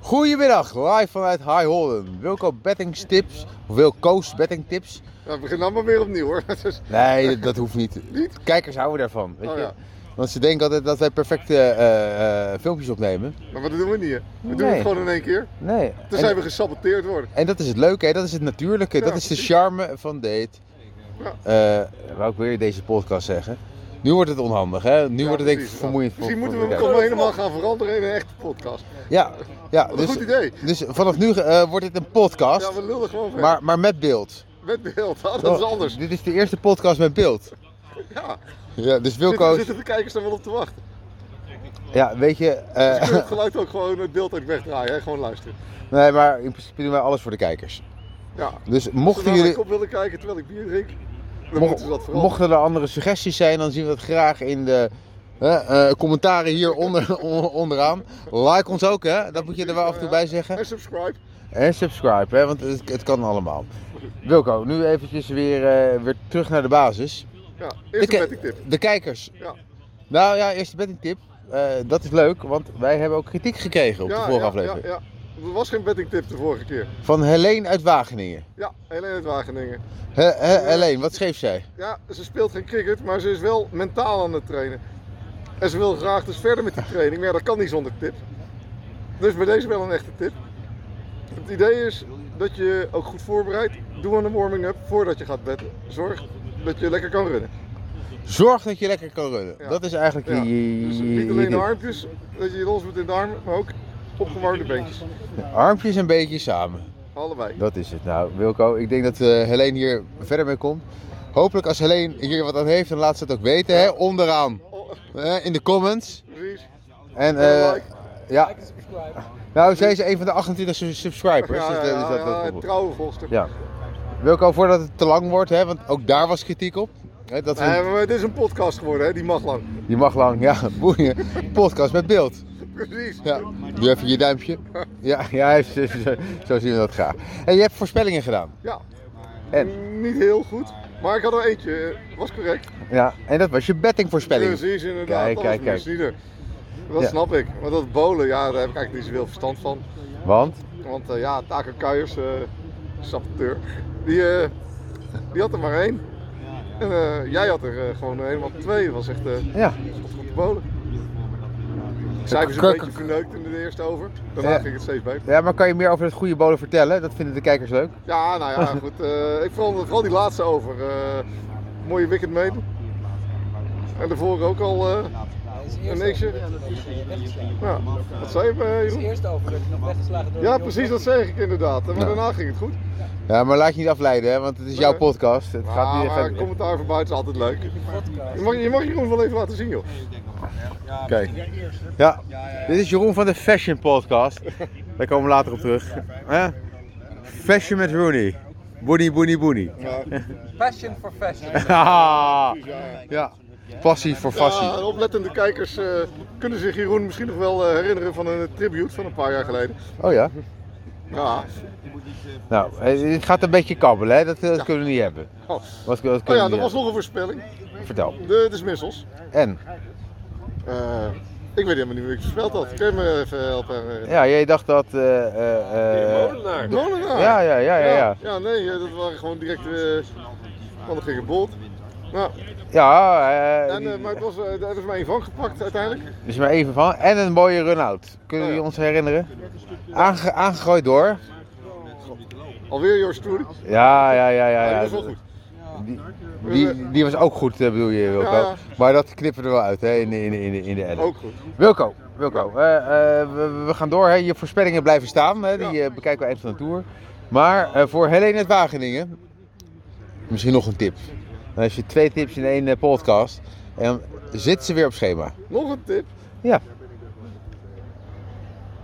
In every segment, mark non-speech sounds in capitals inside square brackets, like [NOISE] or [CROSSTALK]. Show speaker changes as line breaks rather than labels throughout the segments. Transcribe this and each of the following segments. Goedemiddag, live vanuit High Holden. Wilco Betting Tips, of Wilco's Betting Tips.
Ja, we beginnen allemaal weer opnieuw hoor. [LAUGHS] Dat is-
Nee, dat, dat hoeft niet.
Niet?
Kijkers houden daarvan, weet
Oh,
je.
ja.
Want ze denken altijd dat wij perfecte eh, eh, filmpjes opnemen.
Maar dat doen we niet. hè? We doen
Nee.
het gewoon in één keer.
Nee.
Tenzij
En,
we gesaboteerd worden.
en dat is het leuke, hè? dat is het natuurlijke,
Ja,
dat is de
precies.
charme van date. Eh wou ik weer deze podcast zeggen. Nu wordt het onhandig, hè? Nu
Ja,
wordt het denk ik
precies.
vermoeiend.
Ja.
voor-
Misschien moeten
voor
we hem
de
gewoon helemaal gaan veranderen in een echte podcast.
kijker. Ja, ja.
Wat een
Dus,
goed idee.
dus vanaf nu eh, wordt dit een podcast,
Ja, we lullen gewoon verder.
maar, maar met beeld.
Met beeld. Ah, dat is
Oh,
anders.
Dit is de eerste podcast met beeld.
Ja.
Ja, dus
Zitten,
Wilco,
zitten de kijkers er wel op te wachten.
ja, weet je, eh,
Ze kunnen het geluid ook gewoon het beeld uit wegdraaien. Hè? Gewoon luisteren.
[LAUGHS] nee, maar in principe doen wij alles voor de kijkers.
Ja.
Dus
Als
mochten
ze jullie...
jullie,
op willen kijken terwijl ik bier drink,
mo-
dan moeten ze dat vooral.
mochten er andere suggesties zijn, dan zien we dat graag in de eh, eh, commentaren hier onder, [LAUGHS] on- onderaan. Like ons ook, hè? Dat moet je er wel af en toe bij zeggen.
En subscribe.
En subscribe, hè, want het, het kan allemaal. Wilco, nu eventjes weer, eh, weer terug naar de basis.
Ja,
De,
eerst een
ki-
betting tip.
de kijkers.
Ja.
Nou ja, eerste bettingtip. Eh dat is leuk, want wij hebben ook kritiek gekregen op de
ja,
vorige
ja,
aflevering.
Ja, ja. Er was geen betting tip de vorige keer.
Van Helene uit Wageningen.
Ja, Helene uit Wageningen.
He, he, Helene, wat schreef zij?
Ja, ze speelt geen cricket, maar ze is wel mentaal aan het trainen. En ze wil graag dus verder met die training, maar ja, dat kan niet zonder tip. Dus bij deze wel een echte tip. Het idee is dat je je ook goed voorbereidt. Doe aan de warming-up voordat je gaat bedden. Zorg dat je lekker kan runnen.
Zorg dat je lekker kan runnen.
Ja.
Dat is eigenlijk
Ja.
je, je-
Dus
je-
niet
je
alleen de
ding.
armpjes, dat je je los moet in de armen, maar ook opgewarmde beentjes.
armpjes een beetje samen.
Allebei.
Dat is het nou, Wilco. Ik denk dat eh Helene hier verder mee komt. Hopelijk als Helene hier wat aan heeft, dan laat ze het ook weten. Hè? Onderaan.
Oh,
Eh, in de comments.
precies.
En
Ja,
eh,
like.
ja. Nou, zij is een van de 28 su- subscribers.
Ja,
dus dat,
ja,
is dat, dat
ja,
goed.
trouwe volster.
ja. Wilco, voordat het te lang wordt, hè, want ook daar was kritiek op. Hè, dat we-
Nee, Eh, maar dit is een podcast geworden, hè? die mag lang. [LAUGHS]
Je mag lang, ja, [LAUGHS] boeien. Podcast met beeld.
Precies.
Ja. Doe even je duimpje. Ja, ja [LAUGHS] zo, zo- zo zien we dat graag. En je hebt voorspellingen gedaan.
Ja.
En?
Niet heel goed, maar ik had er eentje. eh, Was correct.
Ja, en dat was je bettingvoorspelling.
Precies, inderdaad.
Kijk,
dat
kijk,
was mijn sneaker. Dat
Ja.
snap ik. Maar dat bowlen, ja, daar heb ik eigenlijk niet zoveel verstand van.
Want?
Want eh, ja, Taco Kuijers, eh saboteur, die, eh, die had er maar één. En eh, jij had er eh, gewoon helemaal twee. Dat was echt eh
Ja.
goed te bowlen. Cijfers een
Kuk-
beetje verneukt in de eerste over. Daarna
Ja.
ging het steeds beter.
ja, maar kan je meer over het goede bolen vertellen? Dat vinden de kijkers leuk.
Ja, nou
[LAUGHS]
ja, goed. eh, ik vooral, vooral die laatste over. eh, mooie weekend meedoen. En daarvoor ook al eh, een niksje. Ja, wat zei je, eh,
Het
Jeroen?
eerste over dat je nog weggeslagen door
Ja,
de
precies,
jongen.
dat zeg ik inderdaad. Maar
Ja.
daarna ging het goed.
Ja, maar laat je niet afleiden, hè, want het is jouw
Nee.
podcast. Het gaat
Ah,
niet
maar
even...
een commentaar van buiten is altijd leuk.
Podcast.
Je mag, je mag Jeroen wel even laten zien, joh.
Kijk. Ja. Dit is Jeroen van de Fashion Podcast. Daar komen we later op terug. Hè? Fashion met Rooney. Boenie, boenie, boenie.
Passion for fashion.
Haha. ja. Passie voor fassie.
Ja, oplettende kijkers eh, kunnen zich Jeroen misschien nog wel eh, herinneren van een tribute van een paar jaar geleden.
Oh ja.
Ja.
Nou, eh, het gaat een beetje kabbelen, hè? Dat, eh, dat kunnen we niet hebben.
Oh,
Wat, dat
oh
kunnen
ja,
we
er
niet
was
hebben.
nog een voorspelling.
Vertel.
De dismissals.
En?
Eh, ik weet helemaal niet wie ik gespeeld had. Kun je me even helpen?
Ja, jij dacht dat... eh, eh, eh,
Molenaar.
ja, ja, ja, ja, ja.
Ja, nee, eh, dat waren gewoon direct eh van de gekke bolt. Nou,
Ja, eh,
en, eh, maar het was, eh, er is maar één van gepakt uiteindelijk.
er is maar even van. En een mooie run-out. Kunnen
Oh ja.
jullie ons herinneren? Aange- aangegooid door.
Alweer Joost Trudy.
Ja, ja, ja, ja.
Ja,
ja.
dat is wel goed.
Die, die, die was ook goed, eh, bedoel je, Wilco.
Ja.
Maar dat knippen we er wel uit hè, in, de- in, de- in, de- in de edit.
Ook goed.
Wilco, Wilco eh, eh, we, we gaan door. Hè. Je voorspellingen blijven staan. Hè. Die
Ja.
eh, bekijken we eind van de tour. Maar eh, voor Helene uit Wageningen, misschien nog een tip. Dan heb je twee tips in één eh, podcast. En dan zit ze weer op schema.
Nog een tip.
Ja.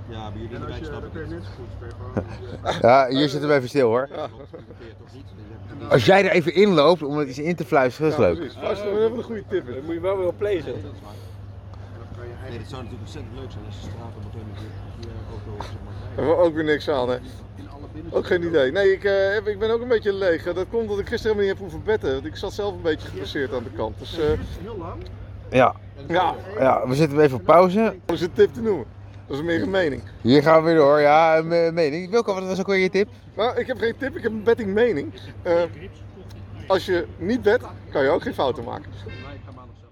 Ja, bij jullie in de wijk snap ik
[LAUGHS]
het.
ja, hier zitten we even stil hoor.
Ja,
Als jij er even inloopt om het eens in te fluisteren, dat is
ja,
leuk.
precies. Luister, we hebben een goede tip. in.
moet je wel weer op play zetten.
Nee, dat zou natuurlijk ontzettend leuk zijn als de straat op een gegeven moment weer een auto zeg maar, rijdt.
Daar hebben we ook weer niks aan, hè. Ook geen idee. Nee, ik, eh, heb- ik ben ook een beetje leeg. Dat komt omdat ik gisteren helemaal niet heb hoeven betten. Want ik zat zelf een beetje geblesseerd aan de kant. Dus eh,
Ja.
ja,
ja, we zitten even op pauze.
dat is een tip te noemen. Dat is meer een mening.
Hier gaan we weer door, ja, een me- mening. Wilco, wat was ook weer je tip?
Nou, ik heb geen tip, ik heb een betting mening. Eh, als je niet bet, kan je ook geen fouten maken.
Nee, ik ga maandag zo.